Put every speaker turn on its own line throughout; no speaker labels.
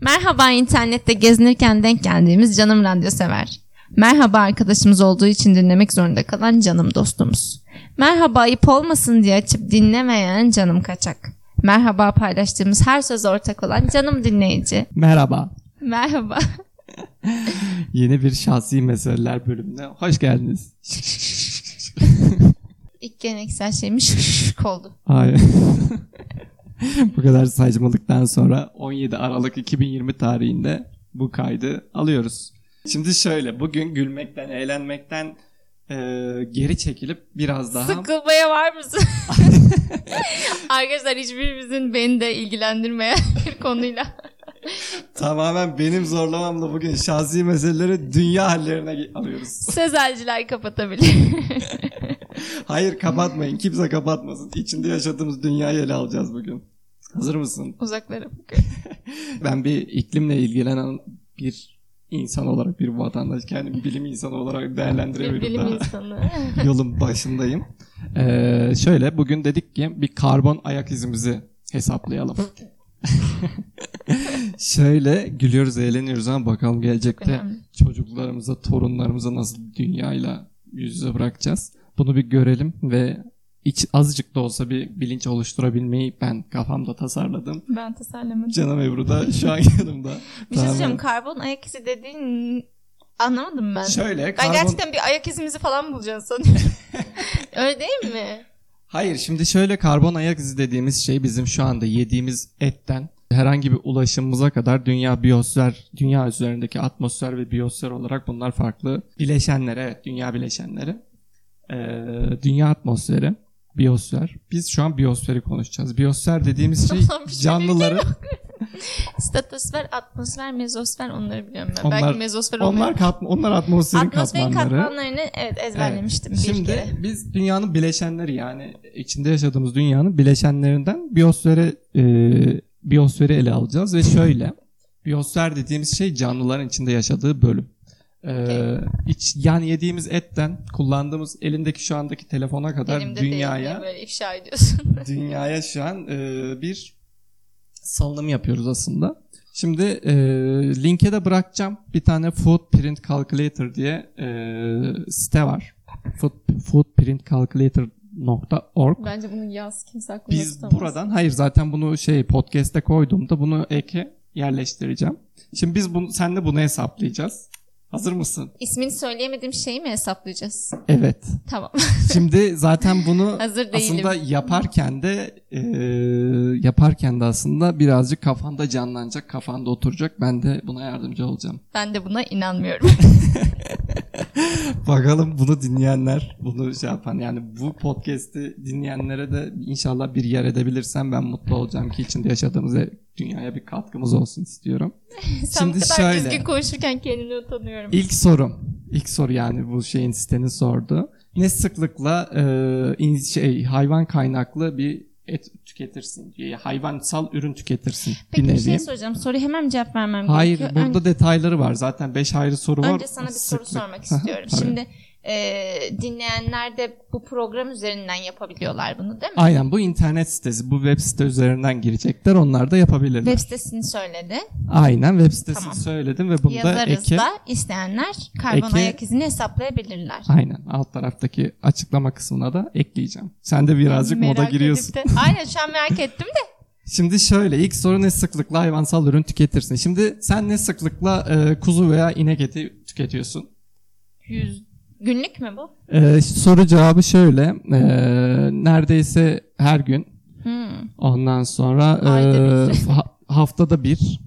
Merhaba internette gezinirken denk geldiğimiz canım radyo sever. Merhaba arkadaşımız olduğu için dinlemek zorunda kalan canım dostumuz. Merhaba ayıp olmasın diye açıp dinlemeyen canım kaçak. Merhaba paylaştığımız her söz ortak olan canım dinleyici.
Merhaba.
Merhaba.
Yeni bir şahsi meseleler bölümüne hoş geldiniz.
İlk geleneksel şeymiş oldu.
Hayır. bu kadar saçmalıktan sonra 17 Aralık 2020 tarihinde bu kaydı alıyoruz. Şimdi şöyle bugün gülmekten, eğlenmekten e, geri çekilip biraz daha
Sıkılmaya var mısın? Arkadaşlar hiçbirimizin beni de ilgilendirmeyen bir konuyla.
tamamen benim zorlamamla bugün şahsi meseleleri dünya hallerine ge- alıyoruz.
Sözelciler kapatabilir.
Hayır kapatmayın kimse kapatmasın. İçinde yaşadığımız dünyayı ele alacağız bugün. Hazır mısın?
Uzaklara bakıyorum.
Ben bir iklimle ilgilenen bir insan olarak bir vatandaş kendimi bilim insanı olarak
Bir
değerlendiremiyorum
bilim
daha.
insanı.
Yolun başındayım. Ee, şöyle bugün dedik ki bir karbon ayak izimizi hesaplayalım. şöyle gülüyoruz eğleniyoruz ama bakalım gelecekte
Önemli.
çocuklarımıza torunlarımıza nasıl dünyayla yüz yüze bırakacağız. Bunu bir görelim ve iç, azıcık da olsa bir bilinç oluşturabilmeyi ben kafamda tasarladım.
Ben tasarlamadım.
Canım Ebru da şu an yanımda.
Bir şey söyleyeceğim.
Tamam.
Karbon ayak izi dediğin anlamadım ben.
Şöyle
Ben
karbon...
gerçekten bir ayak izimizi falan bulacağım sanıyorum. Öyle değil mi?
Hayır şimdi şöyle karbon ayak izi dediğimiz şey bizim şu anda yediğimiz etten herhangi bir ulaşımımıza kadar dünya biyosfer, dünya üzerindeki atmosfer ve biyosfer olarak bunlar farklı bileşenleri, evet dünya bileşenleri. Ee, dünya atmosferi, biyosfer. Biz şu an biyosferi konuşacağız. Biyosfer dediğimiz şey
Tamam, bir şey
canlıların
Stratosfer, atmosfer, mezosfer onları biliyorum ben.
Onlar-
Belki mezosfer
onlar
olmuyor.
kat onlar atmosferin
Atmosferin
katmanları.
katmanlarını evet ezberlemiştim bir
Şimdi
kere.
biz dünyanın bileşenleri yani içinde yaşadığımız dünyanın bileşenlerinden biyosfere e, biyosferi ele alacağız ve şöyle biyosfer dediğimiz şey canlıların içinde yaşadığı bölüm. E,
Okey.
iç, yani yediğimiz etten kullandığımız elindeki şu andaki telefona kadar
Elimde değil diye
dünyaya
böyle ifşa ediyorsun.
dünyaya şu an e, bir salınım yapıyoruz aslında. Şimdi e, linke de bırakacağım bir tane Footprint Calculator diye e, site var. Foot, footprintcalculator.org
Bence bunu yaz kimse aklına
Biz buradan hayır zaten bunu şey podcast'te koyduğumda bunu eke yerleştireceğim. Şimdi biz bunu senle bunu hesaplayacağız. Hazır mısın?
İsmini söyleyemediğim şeyi mi hesaplayacağız?
Evet.
Tamam.
Şimdi zaten bunu
Hazır değilim.
aslında yaparken de e, yaparken de aslında birazcık kafanda canlanacak, kafanda oturacak. Ben de buna yardımcı olacağım.
Ben de buna inanmıyorum.
Bakalım bunu dinleyenler, bunu şey yapan yani bu podcast'i dinleyenlere de inşallah bir yer edebilirsem ben mutlu olacağım ki içinde yaşadığımız e- dünyaya bir katkımız olsun istiyorum.
Sen bu
Şimdi
kadar
şöyle.
düzgün konuşurken kendini utanıyorum.
İlk sorum. İlk soru yani bu şeyin sitenin sordu. Ne sıklıkla e, in- şey, hayvan kaynaklı bir et tüketirsin? E, hayvansal ürün tüketirsin
Peki
bir
bir
nevi.
şey soracağım. Soruyu hemen mi cevap vermem
Hayır
gerekiyor?
burada detayları var. Zaten 5 ayrı soru var.
Önce sana bir soru
Sıklık.
sormak istiyorum.
Tabii.
Şimdi e, dinleyenler de bu program üzerinden yapabiliyorlar bunu değil mi?
Aynen bu internet sitesi. Bu web site üzerinden girecekler. Onlar da yapabilirler.
Web sitesini söyledi.
Aynen web sitesini
Tamam.
söyledim ve bunda
Yazarız
eki...
da isteyenler karbon
Eke-
ayak izini hesaplayabilirler.
Aynen alt taraftaki açıklama kısmına da ekleyeceğim. Sen de birazcık
Merak
moda
edip
giriyorsun.
de- aynen şu an merak ettim de.
Şimdi şöyle ilk soru ne sıklıkla hayvansal ürün tüketirsin? Şimdi sen ne sıklıkla e, kuzu veya inek eti tüketiyorsun?
Yüz günlük mü bu?
E, soru cevabı şöyle. e, neredeyse her gün.
Hmm.
Ondan sonra e,
Ayda bir.
ha- haftada bir.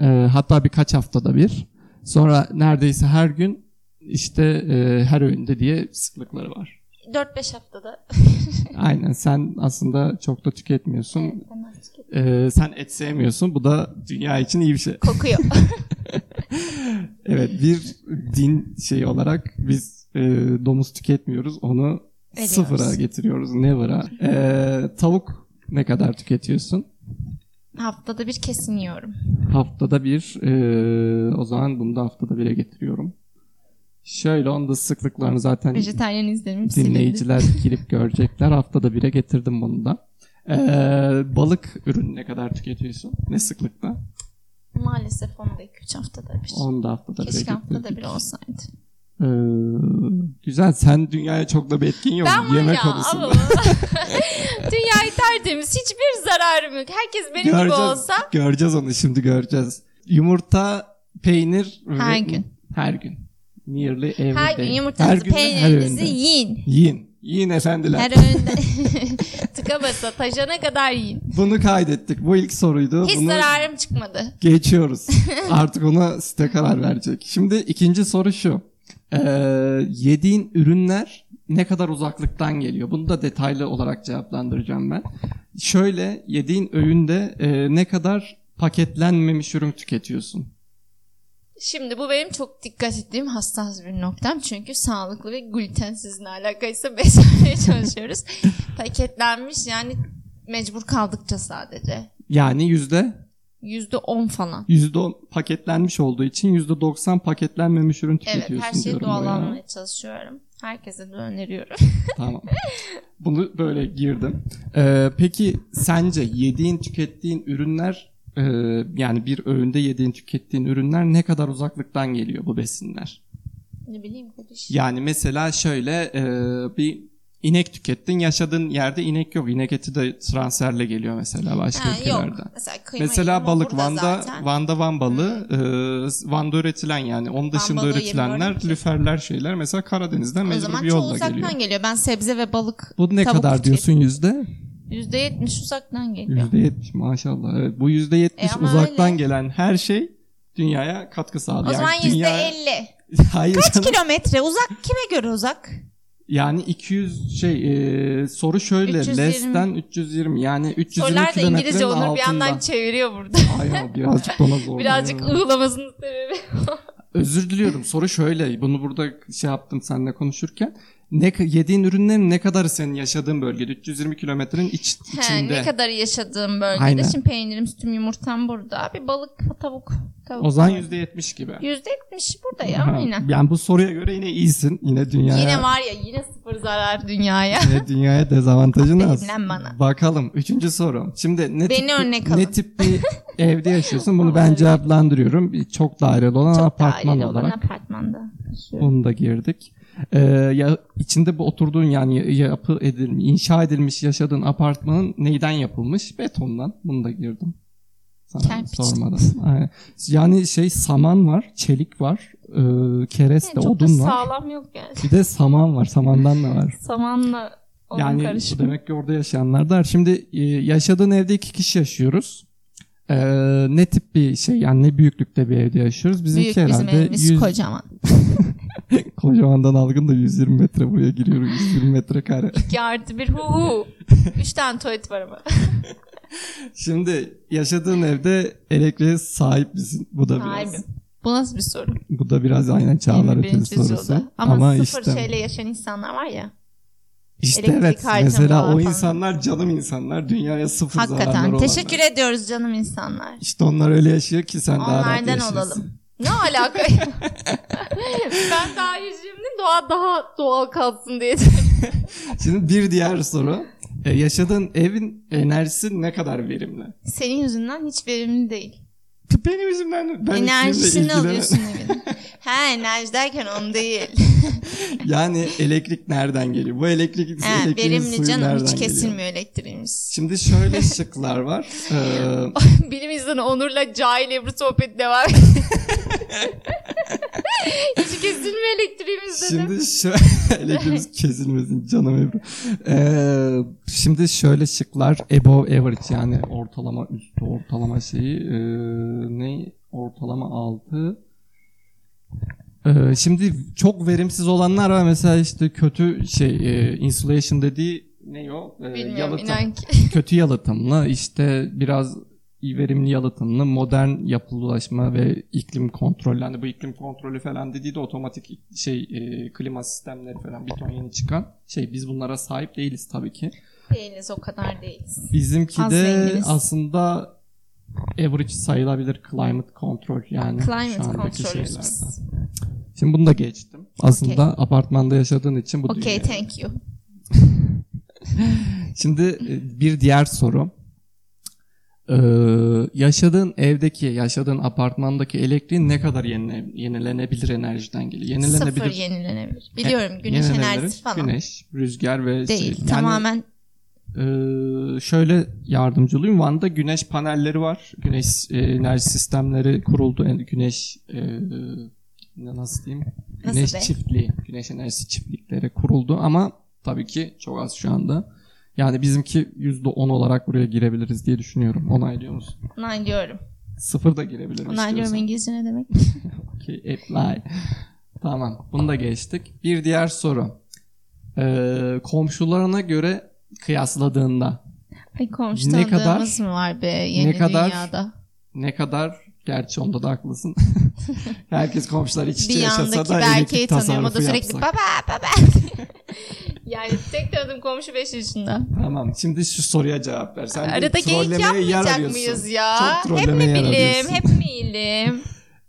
e, hatta birkaç haftada bir. Sonra neredeyse her gün işte e, her öğünde diye sıklıkları var.
4-5 haftada.
Aynen sen aslında çok da tüketmiyorsun.
Ben artık-
E, sen et sevmiyorsun. Bu da dünya için iyi bir şey.
Kokuyor.
Evet bir din şeyi olarak biz e, domuz tüketmiyoruz. Onu
Veriyoruz.
sıfıra getiriyoruz. Never'a. E, tavuk ne kadar tüketiyorsun?
haftada bir kesin yiyorum.
Haftada bir e, o zaman bunu da haftada bire getiriyorum. Şöyle onun da sıklıklarını zaten
Vejetaryen izlerim. silindi.
dinleyiciler girip görecekler. Haftada bire getirdim bunu da. E, balık ürünü ne kadar tüketiyorsun? Ne sıklıkla?
Maalesef maalesef onu da 2-3 haftada bir.
10 haftada
Keşke
belki.
haftada bir olsaydı.
Ee, güzel sen dünyaya çok da bir etkin yok.
Ben var
Yemek
ya
konusunda.
ama dünyayı tertemiz hiçbir zararım yok. Herkes benim gibi olsa
Göreceğiz onu şimdi göreceğiz. Yumurta, peynir ve-
Her gün.
Her gün. Nearly every
her
day.
gün yumurtanızı
gün ve her
peynirinizi
öğünde.
yiyin.
Yiyin. Yiyin efendiler.
Her öğünde tıka basa taşana kadar yiyin.
Bunu kaydettik. Bu ilk soruydu.
Hiç
Bunu
zararım çıkmadı.
geçiyoruz. Artık ona site karar verecek. Şimdi ikinci soru şu. Ee, yediğin ürünler ne kadar uzaklıktan geliyor? Bunu da detaylı olarak cevaplandıracağım ben. Şöyle yediğin öğünde e, ne kadar paketlenmemiş ürün tüketiyorsun?
Şimdi bu benim çok dikkat ettiğim hassas bir noktam. Çünkü sağlıklı ve glutensizle alakaysa beslenmeye çalışıyoruz. Paketlenmiş yani mecbur kaldıkça sadece.
Yani yüzde
Yüzde on falan.
%10 paketlenmiş olduğu için %90 paketlenmemiş ürün
Evet
tüketiyorsun
her şey şeyi
diyorum ben
doğal
ya.
almaya çalışıyorum. Herkese de öneriyorum.
Tamam. Bunu böyle girdim. Ee, peki sence yediğin tükettiğin ürünler e, yani bir öğünde yediğin tükettiğin ürünler ne kadar uzaklıktan geliyor bu besinler?
ne bileyim kardeşim.
Yani mesela şöyle e, bir inek tükettin yaşadığın yerde inek yok. İnek eti de transferle geliyor mesela başka
Ha, yok.
ülkelerden.
Mesela kıyma
Mesela
yiyorum,
balık
burada
Van'da
zaten.
Van'da Van balığı e, Van'da üretilen yani onun dışında
balığı
üretilenler
yemiyorum ki.
lüferler şeyler mesela Karadeniz'den
O
mecbur
zaman
bir
çok
yolla
uzaktan
geliyor.
geliyor. Ben sebze ve balık
Bu ne
tavuk
kadar
tüketiyorum.
diyorsun yüzde?
Yüzde yetmiş uzaktan geliyor.
Yüzde yetmiş maşallah. Evet, bu yüzde yetmiş
E ama
uzaktan
öyle.
gelen her şey dünyaya katkı sağlıyor.
O zaman
yani
yüzde
dünya-
elli.
Hayır
Kaç
canım.
kilometre uzak? Kime göre uzak?
Yani 200 şey e, soru şöyle
320.
lesten 320 yani 320
Sorular da
kilometrenin
İngilizce Onur
altında.
bir yandan çeviriyor burada.
Ay, birazcık bana zor.
Birazcık ığlamasının sebebi.
Özür diliyorum. Soru şöyle. Bunu burada şey yaptım seninle konuşurken. Ne ka- yediğin ürünlerin ne kadarı senin yaşadığın bölgede? 320 kilometrenin iç,
He,
içinde.
ne kadar yaşadığım bölgede.
Aynen.
Şimdi peynirim, sütüm, yumurtam burada. Bir balık, tavuk. tavuk
O zaman
var.
%70 gibi.
Yüzde yetmiş burada ya
Ha,
aynen.
Yani bu soruya göre yine iyisin. Yine dünyaya.
Yine var ya yine sıfır zarar dünyaya.
Yine dünyaya dezavantajın az.
Aferin lan bana.
Bakalım. Üçüncü soru. Şimdi ne
Beni
tip,
örnek
ne
alın.
tip bir evde yaşıyorsun? Bunu ben
Vallahi.
cevaplandırıyorum. Bir Çok daireli olan
Çok
apartman
daireli
olarak.
olan apartmanda. yaşıyorum.
Bunu da girdik. Ee, ya içinde bu oturduğun yani ya- yapı edilmiş, inşa edilmiş yaşadığın apartmanın neyden yapılmış? Betondan. Bunu da girdim. Sana
Kerpiç.
sormadan. Aynen. Yani şey saman var, çelik var, e, kereste,
Yani Ee, çok da
odun var.
sağlam yok yani.
Bir de saman var. Samandan da var.
Samanla onun
Yani
karışımı.
bu demek ki orada yaşayanlar der. Şimdi e, yaşadığın evde iki kişi yaşıyoruz. Ee, ne tip bir şey yani ne büyüklükte bir evde yaşıyoruz? Bizimki
Büyük bizim
herhalde
evimiz kocaman.
kocamandan algın da 120 metre buraya giriyorum. 120 metrekare.
2 artı 1 hu hu. 3 tane tuvalet var ama.
Şimdi yaşadığın evde elektriğe sahip misin? Bu da biraz.
Sahibim. Bu nasıl bir soru?
Bu da biraz aynen çağlar
21.
ötesi sorusu.
yüzyılda. Ama, sıfır
işte,
şeyle yaşayan insanlar var ya.
işte
elektrik
evet
harcamalar
mesela o
falan.
insanlar canım insanlar dünyaya sıfır zararları
Hakikaten.
olanlar.
Teşekkür ediyoruz canım insanlar.
İşte onlar öyle yaşıyor ki sen daha rahat
Onlardan
yaşıyorsun.
olalım. Ne alaka? ben daha yüzümde doğa daha doğal kalsın diye.
Şimdi bir diğer soru. E, yaşadığın evin enerjisi ne kadar verimli?
Senin yüzünden hiç verimli değil.
Benim yüzümden ben iklimle
Enerjisini
ilgilenen-
alıyorsun evin. ha enerji derken onu değil.
Yani elektrik nereden geliyor? Bu elektrik
Ha,
elektriğin
verimli
suyu
canım
nereden
hiç
geliyor?
kesilmiyor elektriğimiz.
Şimdi şöyle şıklar var. Ee,
Bilim insanı Onur'la cahil Ebru sohbeti devam Hiç kesilmiyor elektriğimiz dedim.
şimdi şöyle elektriğimiz kesilmesin canım Ebru. Ee, şimdi şöyle şıklar above average yani ortalama üstü ortalama şeyi ee, ne ortalama altı Ee, şimdi çok verimsiz olanlar var mesela işte kötü şey e, insulation dediği ne o? Ee,
Bilmiyorum
yalıtım.
inan ki.
kötü yalıtımlı işte biraz verimli yalıtımlı modern yapılaşma ve iklim kontrolü. Hani bu iklim kontrolü falan dediği de otomatik ik- şey e, klima sistemleri falan bir ton yeni çıkan. Şey biz bunlara sahip değiliz tabii ki.
Değiliz o kadar değiliz.
Bizimki
Az
de
zenginiz.
aslında average sayılabilir climate control yani
Climate
şu andaki
kontrolümüz
şeylerden.
biz.
Şimdi bunu da geçtim. Aslında apartmanda yaşadığın için bu
Okay
dünyaya-
thank you.
Şimdi e, bir diğer soru. Ee, Ee, yaşadığın evdeki, yaşadığın apartmandaki elektriğin ne kadar yenile- yenilenebilir enerjiden geliyor? Yenilenebilir.
Sıfır yenilenebilir. Biliyorum güneş
Yenilenebilir.
enerjisi falan.
Güneş, rüzgar ve şey.
Değil.
Yani,
Tamamen
e, şöyle yardımcı olayım. Van'da güneş panelleri var. Güneş e, enerji sistemleri kuruldu. Yani güneş e, ne- nasıl diyeyim?
Nasıl
güneş
be?
çiftliği, güneş enerjisi çiftlikleri kuruldu ama tabii ki çok az şu anda. Yani bizimki %10 olarak buraya girebiliriz diye düşünüyorum. Onaylıyor musun?
onaylıyorum.
Sıfır da girebilir
Onaylıyorum İngilizce ne demek?
Okey, apply. tamam, bunu da geçtik. Bir diğer soru. Ee, komşularına göre kıyasladığında
Ay komşu
Ne kadar-
tanıdığımız mı var be yeni
ne kadar
dünyada?
ne kadar gerçi onda da haklısın. Herkes komşular iç içe
Bir
yaşasa
yandaki
da
Berke'yi
elektrik
tanıyorum. O
tasarrufu
da sürekli
yapsak.
baba baba. yani tek tanıdığım komşu 5 yaşında.
Tamam şimdi şu soruya cevap ver. Sen bir
Arada geyik
trollemeye yer
yapmayacak
arıyorsun.
mıyız ya?
Çok
hep
trollemeye
mi
yer
bilim,
arıyorsun.
hep mi ilim?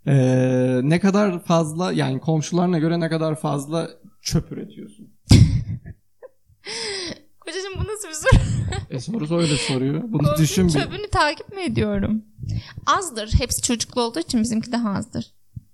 Ee, ne kadar fazla yani komşularına göre ne kadar fazla çöp üretiyorsun?
Kocacığım bu nasıl bir soru?
E soru öyle soruyor. Bunu
Komşunun
düşün bir.
çöpünü takip mi ediyorum? Azdır. Hepsi çocuklu olduğu için bizimki daha azdır.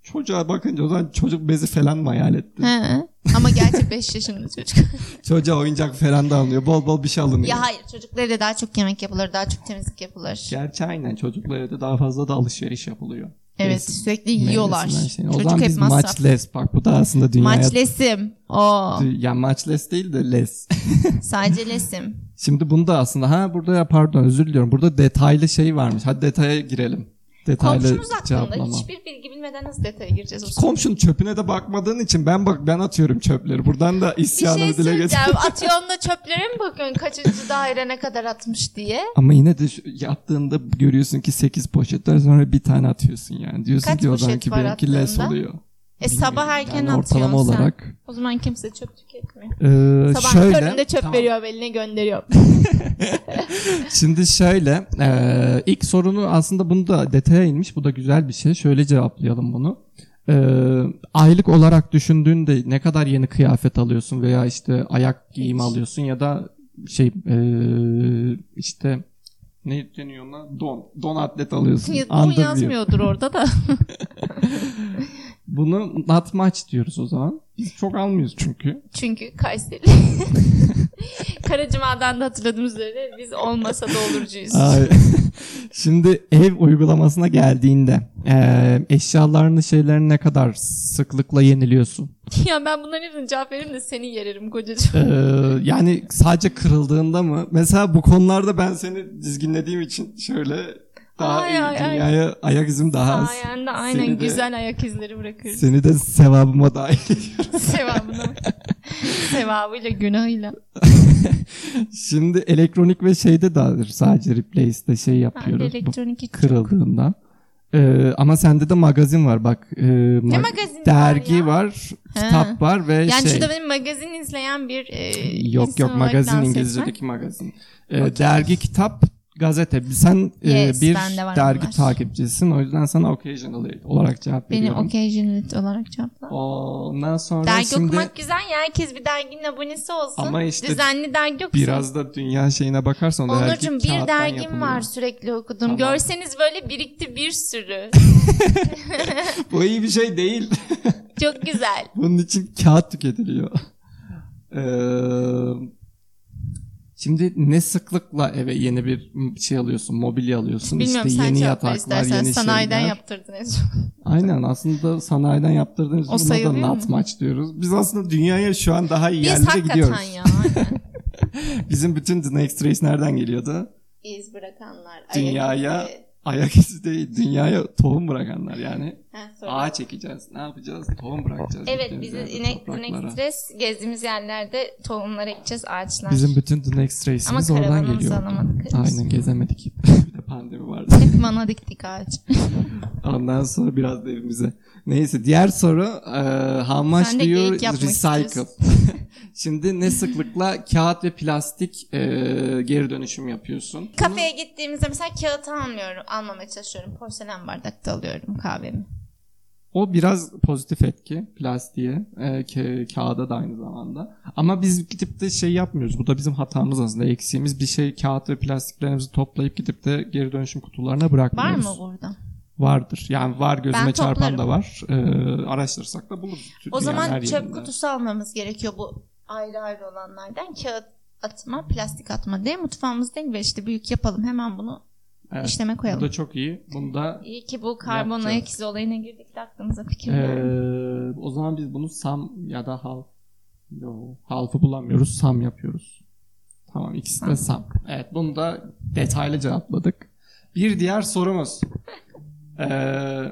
Çocuğa bakınca o zaman çocuk bezi falan mı hayal ettin?
He. Ama gerçi 5 yaşında çocuk.
Çocuğa oyuncak falan da alınıyor. Bol bol bir şey alınıyor.
ya hayır çocuklara da daha çok yemek yapılır, daha çok temizlik yapılır.
Gerçi aynen çocuklar evde daha fazla da alışveriş yapılıyor.
Evet
Neyse,
sürekli yiyorlar.
meyvesinden şeyine. O
Çocuk
zaman
hep
biz
masraf.
maçless bak bu da aslında dünyaya...
Maçlesim. O
Ya maçless değil de less.
sadece lesim.
Şimdi bunu da aslında ha burada ya pardon özür diliyorum. Burada detaylı şey varmış. Hadi detaya girelim. Detaylı
Komşumuz hakkında
cevaplama.
hiçbir şey bilgi bilmeden nasıl detaya gireceğiz? o soruya?
Komşun çöpüne de bakmadığın için ben bak ben atıyorum çöpleri. Buradan da
Bir şey
isyanı dile
söyleyeceğim.
getir.
Atıyorsun da çöplere mi bakıyorsun kaçıncı daire ne kadar atmış diye?
Ama yine de şu- yaptığında görüyorsun ki 8 poşetten sonra bir tane atıyorsun yani. Diyorsun
Kaç
ki o zaman
poşet
ki
var
benimki less
attığında?
oluyor.
E sabah erken
yani
atıyorsun
ortalama
sen.
olarak.
O zaman kimse çöp tüketmiyor.
Ee,
Sabah
şöyle,
köründe çöp
Tamam.
veriyor eline gönderiyor.
Şimdi şöyle e, ilk sorunu aslında bunu da detaya inmiş. Bu da güzel bir şey. Şöyle cevaplayalım bunu. E, aylık olarak düşündüğünde ne kadar yeni kıyafet alıyorsun veya işte ayak giyimi alıyorsun ya da şey e, işte ne deniyor ona? Don. Don atlet alıyorsun.
Bunu
Underwear.
yazmıyordur orada da.
Bunu not match diyoruz o zaman. Biz çok almıyoruz çünkü.
Çünkü Kayseri. Karacıma'dan da hatırladığım üzere biz olmasa da olurcuyuz.
Ay. Şimdi ev uygulamasına geldiğinde eee, eşyalarını şeylerini ne kadar sıklıkla yeniliyorsun?
ya ben bunların hepsini cevap veririm de seni yererim kocacığım.
Eee, yani sadece kırıldığında mı? Mesela bu konularda ben seni dizginlediğim için şöyle daha
Ay,
iyi
ay, ay.
dünyaya ayak izim daha az.
Sayende aynen
Seni de-
güzel ayak izleri bırakıyorum.
Seni de sevabıma dahil ediyorum.
Sevabına bak. Sevabıyla günahıyla.
Şimdi elektronik ve şeyde dair sadece replace'de şey
Ha,
yapıyoruz. Bu
elektronik hiç yok.
kırıldığında. Eee, ama sende de magazin var bak. Eee,
Ne
mag-
magazin
dergi
ya?
var,
Ha.
kitap var ve
Yani
şey.
şurada benim magazin izleyen bir e,
Yok
insan
yok
olarak
magazin
dans
İngilizce'deki
etmek.
magazin. Ee, Dergi, kitap, gazete. Sen e,
Yes,
bir
bende var
dergi
bunlar.
takipçisisin. O yüzden sana occasional olarak cevap
Benim
veriyorum.
occasionalist olarak cevapla.
Ondan sonra
Dergi
şimdi
okumak güzel ya. Herkes bir derginin abonesi olsun.
Ama işte
Düzenli dergi okusun.
biraz da dünya şeyine bakarsan o dergi
Onurcuğum bir
kağıttan
dergim
yapılıyor.
var sürekli okudum.
Tamam.
Görseniz böyle birikti bir sürü.
Bu iyi bir şey değil.
Çok güzel.
Bunun için kağıt tüketiliyor. Ee, şimdi ne sıklıkla eve yeni bir şey alıyorsun, mobilya alıyorsun.
Bilmiyorum
işte
sen
yeni
cevap ver
yataklar,
istersen.
yeni
Sanayiden
şeyler.
yaptırdın en son.
Aynen aslında sanayiden yaptırdığımız
O
buna da
sayılıyor
not
mu?
maç diyoruz. Biz aslında dünyaya şu an daha iyi
Biz
yerlere
hakikaten
gidiyoruz.
ya. aynen.
Bizim bütün The Next Race nereden geliyordu?
İz bırakanlar. ayak
Dünyaya
izi.
ayak izi değil, dünyaya tohum bırakanlar yani.
Ha, sorry.
Ağaç ekeceğiz, ne yapacağız? Tohum bırakacağız.
Evet
gittiğimiz
biz
yerde,
inek,
topraklara.
inek stres gezdiğimiz yerlerde tohumlar ekeceğiz ağaçlar.
Bizim bütün The Next
Ama
Race'imiz oradan
karavanımızı
geliyor.
alamadık.
Aynen gezemedik. bir de pandemi vardı.
Hep bana diktik ağaç.
Ondan sonra biraz da evimize. Neyse diğer soru e, how much
Sen
do
de
you
geyik yapmak
recycle?
istiyorsun.
Şimdi ne sıklıkla kağıt ve plastik e, geri dönüşüm yapıyorsun?
Kafeye gittiğimizde mesela kağıt almıyorum. Almamaya çalışıyorum. Porselen bardakta alıyorum kahvemi.
O biraz pozitif etki plastiğe, e, ka- kağıda da aynı zamanda. Ama biz gidip de şey yapmıyoruz. Bu da bizim hatamız aslında eksiğimiz. Bir şey kağıt ve plastiklerimizi toplayıp gidip de geri dönüşüm kutularına
Var
bırakmıyoruz.
mı burada?
Vardır. Yani var gözüme
Ben
çarpan
toplarım.
da var. E, araştırsak da buluruz.
O
Dünyanın her
zaman
yerinde.
çöp kutusu almamız gerekiyor bu ayrı ayrı olanlardan. Kağıt atma, plastik atma diye mutfağımızda ve işte büyük yapalım. Hemen bunu
Evet.
işleme
Bu
koyalım.
da çok iyi. Bunda
İyi ki bu karbon
Yapacağız.
ayak izi olayına girdik de aklımıza fikir geldi.
Ee, o zaman biz bunu sam ya da hal Yo, halfı bulamıyoruz sam yapıyoruz. Tamam ikisi
Sam.
de sam. Evet bunu da detaylı cevapladık. Bir diğer sorumuz. Ee,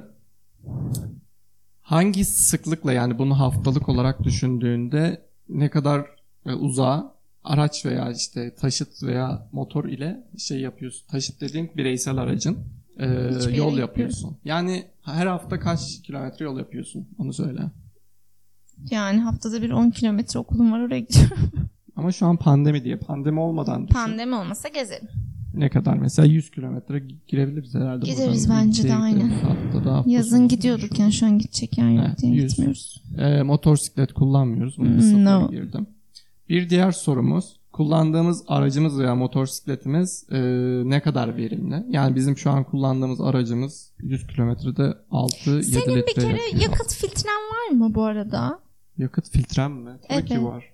hangi sıklıkla yani bunu haftalık olarak düşündüğünde ne kadar e, uzağa araç veya işte taşıt veya motor ile şey yapıyorsun. Taşıt dediğin bireysel aracın e,
Hiçbir yere
yol yapıyorsun. Yani her hafta kaç kilometre yol yapıyorsun onu söyle.
Yani haftada bir 10 kilometre okulum var oraya gidiyorum.
Ama şu an pandemi diye pandemi olmadan düşün.
Pandemi olmasa gezerim.
ne kadar mesela 100 kilometre gi- girebiliriz herhalde.
Gideriz
buradan.
bence de
Gideriz
aynen.
haftada, hafta
Yazın
sonu.
gidiyorduk yani şu an gidecek yer yok
Evet,
diye
yüz.
gitmiyoruz.
E, motosiklet kullanmıyoruz. Bunu
Hmm,
da sınıfa
no.
girdim. Bir diğer sorumuz. Kullandığımız aracımız veya motosikletimiz e, ne kadar verimli? Yani bizim şu an kullandığımız aracımız 100 kilometrede 6-7 litre.
Senin bir kere
yakıyor.
yakıt filtren var mı bu arada?
Yakıt filtrem mi? Tabii ki
Evet.
var.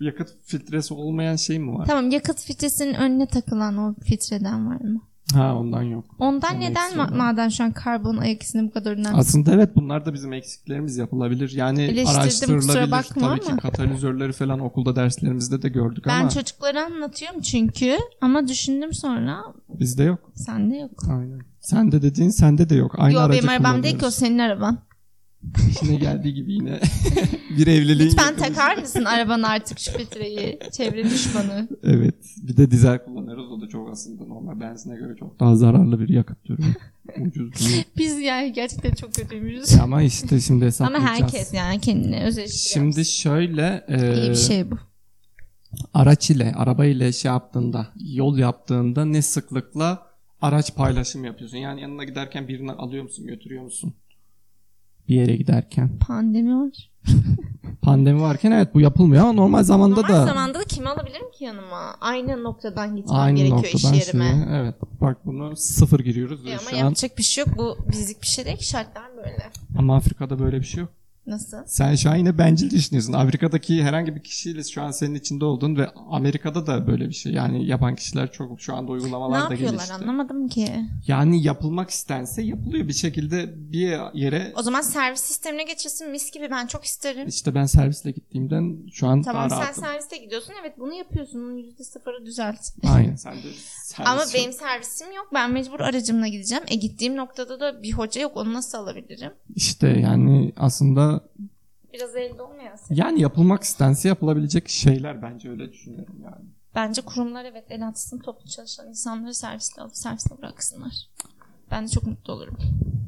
Yakıt filtresi olmayan şey mi var?
Tamam yakıt filtresinin önüne takılan o filtreden var mı?
Ha ondan yok.
Ondan
Onu
neden ma-
ekstradan.
maden şu an karbon ayak izini bu kadar önemli?
Aslında evet bunlar da bizim eksiklerimiz yapılabilir. Yani
Eleştirdim, kusura
araştırılabilir.
bakma
Tabii ki
ama.
katalizörleri falan okulda derslerimizde de gördük
Ben
ama
çocuklara anlatıyorum çünkü ama düşündüm sonra
bizde yok.
sende yok.
Aynen. Sende dediğin sende de yok. Aynı
Yo
aracı
benim arabam değil ki o
kullanıyoruz.
senin araban.
İşine geldiği gibi yine bir evliliğin
Lütfen
yakınız.
takar mısın arabanı artık şu filtreyi? Çevre düşmanı.
Evet. Bir de dizel kullanıyoruz. O da çok aslında normal benzine göre çok daha zararlı bir yakıt türü. Ucuz değil.
Biz yani gerçekten çok kötüymüşüz.
E ama işte şimdi
Ama
hesaplayacağız.
herkes yani kendine özel
Şimdi şöyle e,
iyi bir şey bu.
araç ile, araba ile şey yaptığında, yol yaptığında ne sıklıkla araç paylaşımı yapıyorsun? Yani yanına giderken birini alıyor musun, götürüyor musun? Bir yere giderken.
Pandemi var.
Pandemi varken evet bu yapılmıyor ama normal zamanda
Normal
da
zamanda da kimi alabilirim ki yanıma? Aynı noktadan gitmem
aynı
gerekiyor
noktadan
iş yerime.
şeye- Evet. Bak bunu sıfır giriyoruz
E
ve
ama
şu an.
yapacak bir şey yok. Bu bizlik bir şey değil ki şartlar böyle.
Ama Afrika'da böyle bir şey yok.
Nasıl?
Sen şu an yine bencil düşünüyorsun. Afrika'daki herhangi bir kişiyle şu an senin içinde oldun ve Amerika'da da böyle bir şey. Yani yapan kişiler çok şu anda
ne
uygulamalar da
yapıyorlar
gelişti.
anlamadım ki.
Yani yapılmak istense yapılıyor bir şekilde bir yere.
O zaman servis sistemine geçilsin mis gibi ben çok isterim.
İşte ben servisle gittiğimden şu an
Tamam
daha
sen
rahatım.
serviste gidiyorsun evet bunu yapıyorsun onun yüzde sıfırı düzelt.
Aynen sen de servis
Ama
yok.
benim servisim yok ben mecbur aracımla gideceğim. E gittiğim noktada da bir hoca yok onu nasıl alabilirim?
İşte yani aslında
Biraz elde olmayan şey.
yani yapılmak istense yapılabilecek şeyler bence öyle düşünüyorum yani.
Bence kurumlar evet el atsın toplu çalışan insanları servisle alıp servisle bıraksınlar. Ben de çok mutlu olurum.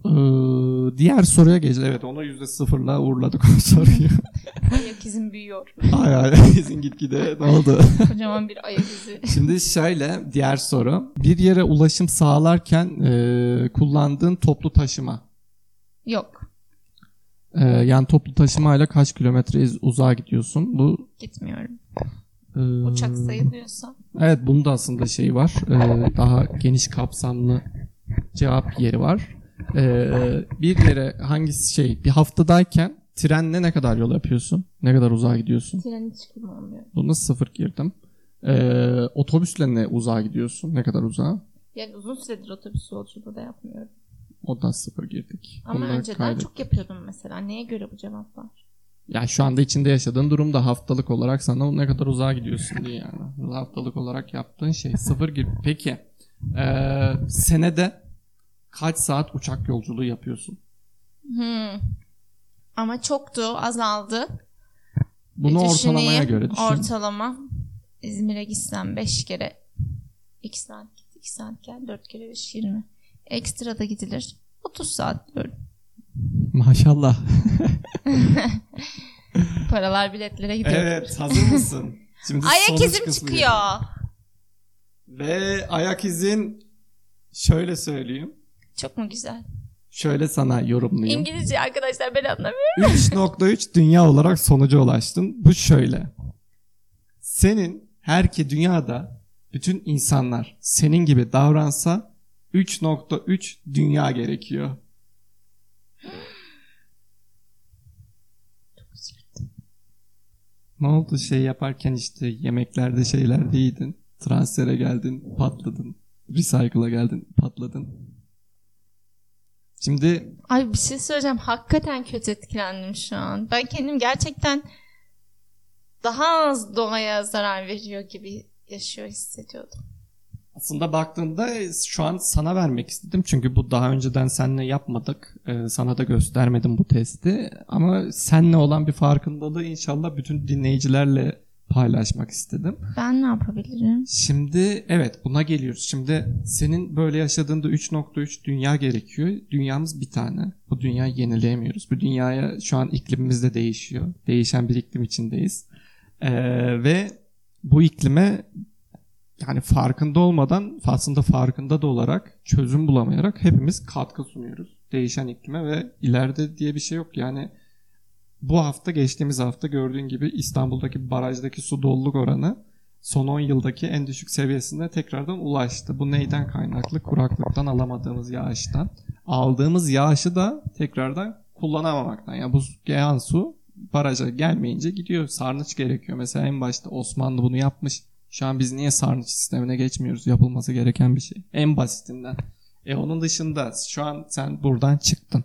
Ee, diğer soruya geçelim. Evet ona yüzde sıfırla uğurladık o soruyu.
Ayak izim büyüyor.
ay ay izin gitgide ne oldu?
Kocaman bir ayak izi.
Şimdi şöyle diğer soru. Bir yere ulaşım sağlarken e, kullandığın toplu taşıma
Yok
Ee, yani toplu taşımayla kaç kilometre iz- uzağa gidiyorsun? Bu
gitmiyorum.
e,
Uçak sayılıyorsa.
Evet, bunun da aslında şeyi var. Ee, daha geniş kapsamlı cevap yeri var. Ee, bir yere hangisi şey bir haftadayken trenle ne kadar yol yapıyorsun? Ne kadar uzağa gidiyorsun?
Tren hiç kullanmıyorum.
Bunu sıfır girdim. Ee, otobüsle ne uzağa gidiyorsun? Ne kadar uzağa?
Yani uzun süredir otobüs yolculuğu da yapmıyorum.
Ondan sıfır girdik.
Ama
Bunları
önceden
kaydet.
çok yapıyordum mesela. Neye göre bu cevaplar?
Yani şu anda içinde yaşadığın durumda haftalık olarak sana ne kadar uzağa gidiyorsun diye yani. Haftalık olarak yaptığın şey sıfır gibi. Peki eee, senede kaç saat uçak yolculuğu yapıyorsun?
Hmm. Ama çoktu, azaldı.
Bunu
Bir
ortalamaya
E, düşüneyim.
göre düşün.
Ortalama İzmir'e gitsem 5 kere 2 saat git, 2 saat gel, 4 kere 5 20. Ekstra da gidilir. 30 saat diyorum.
Maşallah.
Paralar biletlere gidiyor.
Evet hazır mısın? Şimdi
Ayak
sonuç
izim
kısmı
çıkıyor.
geliyor. Ve ayak izin şöyle söyleyeyim.
Çok mu güzel?
Şöyle sana yorumlayayım.
İngilizce arkadaşlar ben anlamıyorum.
3.3 dünya olarak sonuca ulaştın. Bu şöyle. Senin her ki dünyada bütün insanlar senin gibi davransa 3.3 dünya gerekiyor. Ne oldu şey yaparken işte yemeklerde şeylerde yedin. Transfere geldin patladın. Recycle'a geldin patladın. Şimdi
Ay bir şey söyleyeceğim. Hakikaten kötü etkilendim şu an. Ben kendim gerçekten daha az doğaya zarar veriyor gibi yaşıyor hissediyordum.
Aslında baktığında şu an sana vermek istedim. Çünkü bu daha önceden seninle yapmadık. Ee, sana da göstermedim bu testi. Ama seninle olan bir farkındalığı inşallah bütün dinleyicilerle paylaşmak istedim.
Ben ne yapabilirim?
Şimdi evet buna geliyoruz. Şimdi senin böyle yaşadığında 3.3 dünya gerekiyor. Dünyamız bir tane. Bu dünyayı yenileyemiyoruz. Bu dünyaya şu an iklimimiz de değişiyor. Değişen bir iklim içindeyiz. Ee, ve bu iklime yani farkında olmadan aslında farkında da olarak çözüm bulamayarak hepimiz katkı sunuyoruz. Değişen iklime ve ileride diye bir şey yok. Yani bu hafta geçtiğimiz hafta gördüğün gibi İstanbul'daki barajdaki su doluluk oranı son 10 yıldaki en düşük seviyesine tekrardan ulaştı. Bu neyden kaynaklı? Kuraklıktan alamadığımız yağıştan. Aldığımız yağışı da tekrardan kullanamamaktan. Yani bu yağan su baraja gelmeyince gidiyor. Sarnıç gerekiyor. Mesela en başta Osmanlı bunu yapmış. Şu an biz niye sarnıç sistemine geçmiyoruz? Yapılması gereken bir şey. En basitinden. E onun dışında şu an sen buradan çıktın.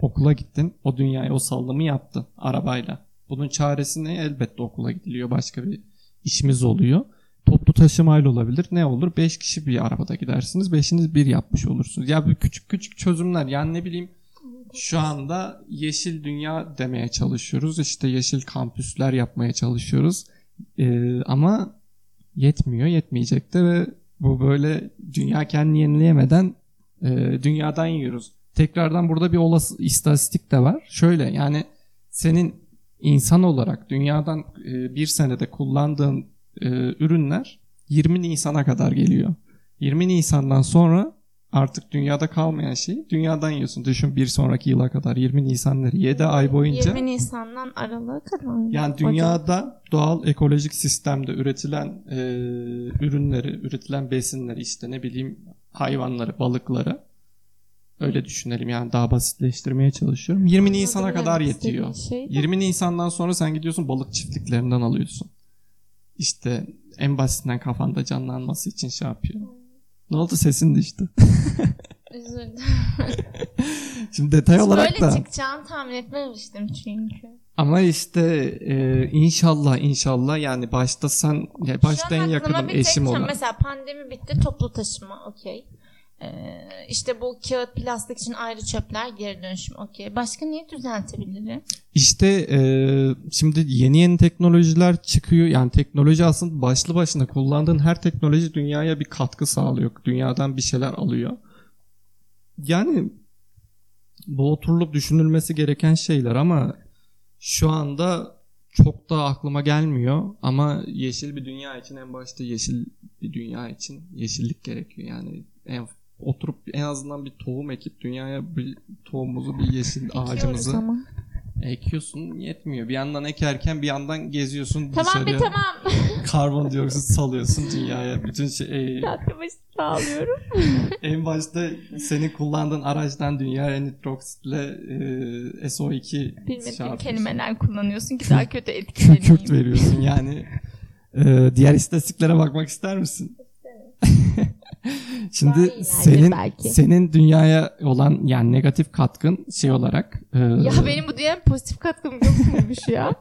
Okula gittin. O dünyaya o sallımı yaptın arabayla. Bunun çaresi ne? Elbette okula gidiliyor. Başka bir işimiz oluyor. Toplu taşımayla olabilir. Ne olur? 5 kişi bir arabada gidersiniz. Beşiniz bir yapmış olursunuz. Ya bu küçük küçük çözümler. Yani ne bileyim şu anda yeşil dünya demeye çalışıyoruz. İşte yeşil kampüsler yapmaya çalışıyoruz. Ee, ama yetmiyor, yetmeyecek de ve bu böyle dünya kendini yenileyemeden e, dünyadan yiyoruz. Tekrardan burada bir olası istatistik de var. Şöyle yani senin insan olarak dünyadan e, bir senede kullandığın e, ürünler 20 Nisan'a kadar geliyor. 20 Nisan'dan sonra artık dünyada kalmayan şeyi dünyadan yiyorsun. Düşün bir sonraki yıla kadar 20 Nisan'ları 7 ay boyunca
20 Nisan'dan Aralık'a kadar.
yani dünyada doğal ekolojik sistemde üretilen e, ürünleri, üretilen besinleri işte ne bileyim hayvanları, balıkları öyle düşünelim yani daha basitleştirmeye çalışıyorum. 20 Nisan'a kadar
şey
yetiyor. 20 Nisan'dan sonra sen gidiyorsun balık çiftliklerinden alıyorsun. İşte en basitinden kafanda canlanması için şey yapıyor. Ne oldu sesin düştü. Şimdi detay Şey olarak
Böyle
da.
çıkacağını tahmin etmemiştim çünkü.
Ama işte e, inşallah inşallah yani başta sen ya başta
Şu an aklıma
en yakınım
bir tek
eşim
şey-
olan.
Mesela pandemi bitti toplu taşıma okey. Ee, işte bu kağıt plastik için ayrı çöpler geri dönüşüm okey. Başka niye düzeltebilirim?
İşte e, şimdi yeni yeni teknolojiler çıkıyor. Yani teknoloji aslında başlı başına kullandığın her teknoloji dünyaya bir katkı sağlıyor. Dünyadan bir şeyler alıyor. Yani bu oturulup düşünülmesi gereken şeyler ama şu anda çok da aklıma gelmiyor ama yeşil bir dünya için en başta yeşil bir dünya için yeşillik gerekiyor. Yani en oturup en azından bir tohum ekip dünyaya bir tohumumuzu bir yeşil ağacımızı
Tamam.
Ekiyorsun yetmiyor. Bir yandan ekerken bir yandan geziyorsun
Tamam be
dışarıya.
tamam.
Karbondioksit salıyorsun dünyaya. Bütün şey, e,
Dakika başı sağlıyorum.
en başta senin kullandığın araçtan dünyaya nitroksitle e, SO2 şey
Bilmediğim
yapıyorsun.
kelimeler kullanıyorsun ki daha kötü etkileneyim.
Kükürt veriyorsun yani. E, diğer istatistiklere bakmak ister misin?
Daha
Şimdi
iyilerdir
senin
belki.
senin dünyaya olan yani negatif katkın şey olarak e,
Ya benim bu diyen pozitif katkım yok muymuş ya?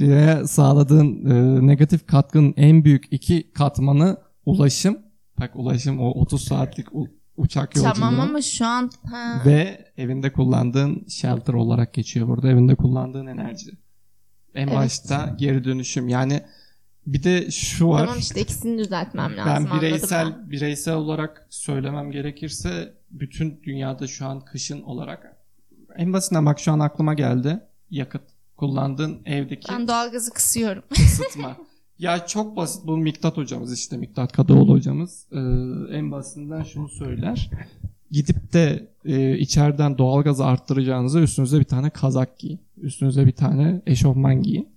dünyaya sağladığın e, negatif katkının en büyük iki katmanı ulaşım. Bak ulaşım o 30 saatlik u- uçak yolculuğu.
tamam ama şu an ha,
Ve evinde kullandığın shelter olarak geçiyor burada. Evinde kullandığın enerji. En
Evet.
başta geri dönüşüm. Yani bir de şu var.
tamam işte ikisini düzeltmem lazım.
Ben
anladım
bireysel
ben.
bireysel olarak söylemem gerekirse bütün dünyada şu an kışın olarak en basitinden bak şu an aklıma geldi. Yakıt kullandığın evdeki
Ben doğalgazı kısıyorum.
ısıtma. ya çok basit e, bu Miktat hocamız işte Miktat Kadıoğlu hocamız Ee, en basitinden şunu söyler. gidip de e, içeriden doğalgazı arttıracağınıza üstünüze bir tane kazak giyin. Üstünüze bir tane eşofman giyin.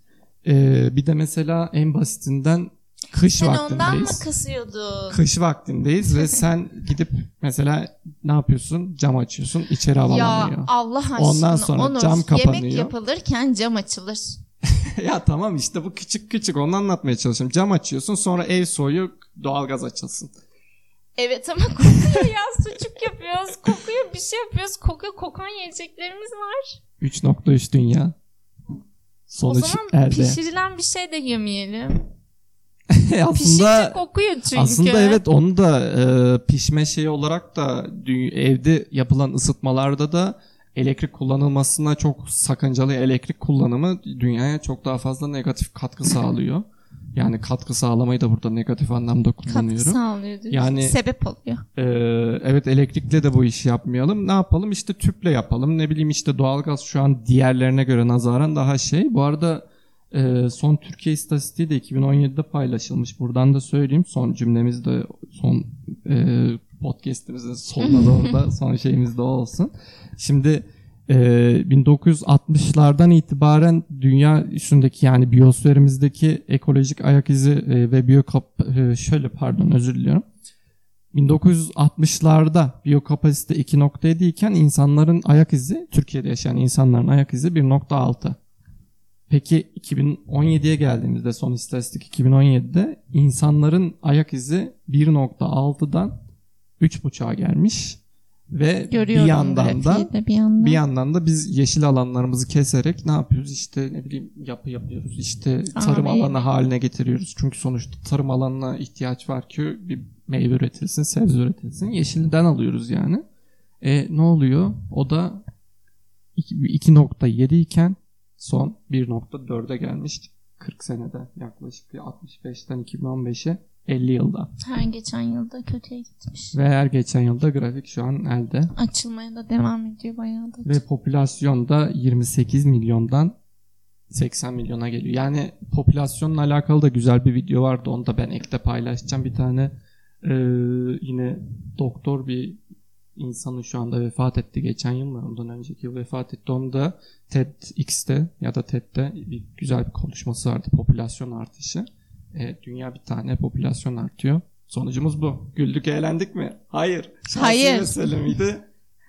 E, bir de mesela en basitinden kış
Sen ondan mı
vaktindeyiz.
kısıyordun?
Kış vaktindeyiz ve sen gidip mesela ne yapıyorsun? Cam açıyorsun, içeri havalanıyor.
Ya Allah aşkına
Ondan sonra
Onur,
cam kapanıyor.
Yemek yapılırken cam açılır.
Ya tamam işte bu küçük küçük onu anlatmaya çalışıyorum. Cam açıyorsun sonra ev soğuyor doğalgaz açılsın.
Evet ama kokuyor ya sucuk yapıyoruz. Kokuyor bir şey yapıyoruz. Kokuyor kokan yiyeceklerimiz var.
3.3 dünya.
O
Sonuç
zaman
elde.
pişirilen bir şey de yemeyelim. Pişince
E aslında
kokuyor çünkü.
aslında evet onu da e, pişme şeyi olarak da dü- evde yapılan ısıtmalarda da elektrik kullanılmasına çok sakıncalı elektrik kullanımı dünyaya çok daha fazla negatif katkı sağlıyor. Yani katkı sağlamayı da burada negatif anlamda
Katkı
kullanıyorum.
sağlıyor. diyor.
Yani-
Sebep oluyor.
Ee, evet elektrikle de bu işi yapmayalım. Ne yapalım? İşte tüple yapalım. Ne bileyim işte doğalgaz şu an diğerlerine göre nazaran daha şey. Bu arada e, son Türkiye istatistiği de 2017'de paylaşılmış. Buradan da söyleyeyim. Son cümlemiz de son e, podcastimizin sonuna doğru da son şeyimiz de o olsun. Şimdi e, 1960'lardan itibaren dünya üstündeki yani biyosferimizdeki ekolojik ayak izi e, ve biyokap e, şöyle pardon özür diliyorum. 1960'larda biyokapasite 2.7 iken insanların ayak izi, Türkiye'de yaşayan insanların ayak izi 1.6. Peki 2017'ye geldiğimizde son istatistik 2017'de insanların ayak izi 1.6'dan 3.5'a gelmiş ve
Görüyorum
bir yandan da
grafiği de bir yandan.
bir yandan da biz yeşil alanlarımızı keserek ne yapıyoruz? İşte ne bileyim yapı yapıyoruz. İşte tarım
Abi.
alanı haline getiriyoruz. Çünkü sonuçta tarım alanına ihtiyaç var ki bir meyve üretilsin, sebze üretilsin. Yeşilden alıyoruz yani. E ne oluyor? O da iki- 2.7 iken son 1.4'e gelmiş. 40 senede yaklaşık bir 65'ten 2015'e 50 yılda.
Her geçen yılda kötüye gitmiş.
Ve her geçen yılda grafik şu an elde.
Açılmaya da devam ediyor bayağı da.
Ve popülasyon da 28 milyondan 80 milyona geliyor. Yani popülasyonla alakalı da güzel bir video vardı. Onu da ben ekte paylaşacağım. Bir tane e, yine doktor bir insanın şu anda vefat etti geçen yıl mı? Ondan önceki yıl vefat etti. Onu da TEDx'te ya da TED'de bir güzel bir konuşması vardı. Popülasyon artışı. E, dünya bir tane popülasyon artıyor. Sonucumuz bu. Güldük eğlendik mi? Hayır. Şahsi
Hayır.
mesele miydi?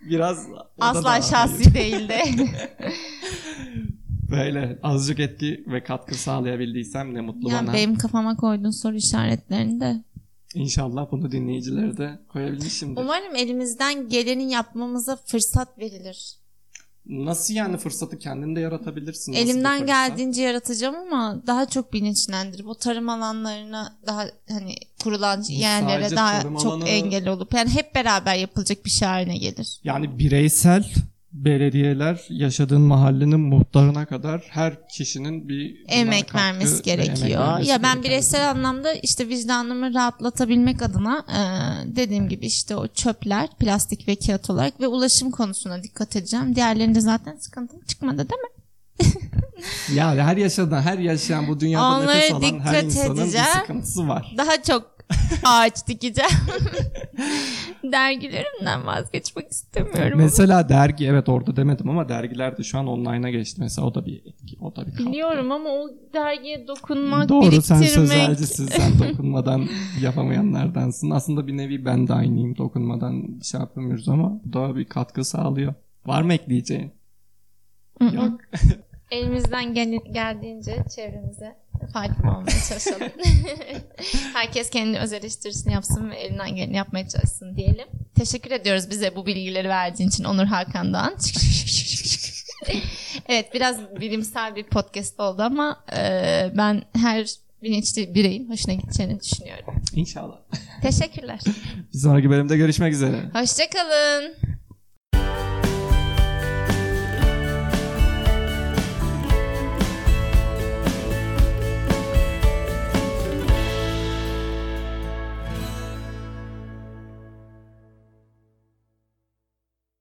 Biraz o da daha
Asla
hayır.
şahsi değildi.
Böyle azıcık etki ve katkı sağlayabildiysem ne mutlu bana.
Ya benim kafama koyduğun soru işaretlerini de.
İnşallah bunu dinleyicilere de koyabilmişimdir.
Umarım elimizden geleni yapmamıza fırsat verilir.
Nasıl yani fırsatı kendin de yaratabilirsin? nasıl bir
Elimden
fırsat?
geldiğince yaratacağım ama daha çok bilinçlendirip o tarım alanlarına daha hani kurulan yerlere
sadece
daha
tarım
çok
alanı-
engel olup yani hep beraber yapılacak bir şey haline gelir.
Yani bireysel belediyeler yaşadığın mahallenin muhtarına kadar her kişinin bir buna
emek
katkı ve
vermesi
emek
gerekiyor.
vermesi
ya ben
gereken
bireysel anlamda işte vicdanımı rahatlatabilmek adına e, dediğim gibi işte o çöpler plastik ve kağıt olarak ve ulaşım konusuna dikkat edeceğim. Diğerlerinde zaten sıkıntı çıkmadı değil mi?
bir- Ya her yaşadan, her yaşayan bu dünyada
Onlara
nefes alan her
dikkat
insanın
edeceğim.
bir sıkıntısı var.
Daha çok ağaç dikeceğim.
Dergilerimden vazgeçmek istemiyorum.
Mesela dergi evet orada demedim ama dergiler de şu an online'a geçti mesela o da bir etki, o da bir katkı.
Biliyorum ama o dergiye dokunmak,
Doğru sen
biriktirmek.
sözelcisin sen dokunmadan yapamayanlardansın. Aslında bir nevi ben de aynıyım dokunmadan şey yapamıyoruz ama bu da bir katkı sağlıyor. Var mı ekleyeceğin?
Hı hı.
Yok.
Elimizden gel- geldiğince çevremize faydalı olmaya çalışalım. Herkes kendi öz eleştirisini yapsın ve elinden geleni yapmaya çalışsın diyelim. Teşekkür ediyoruz bize bu bilgileri verdiğin için Onur Hakan Doğan. evet biraz bilimsel bir podcast oldu ama e, ben her bilinçli bireyin hoşuna gideceğini düşünüyorum.
İnşallah.
Teşekkürler.
Bir sonraki bölümde görüşmek üzere.
Hoşçakalın.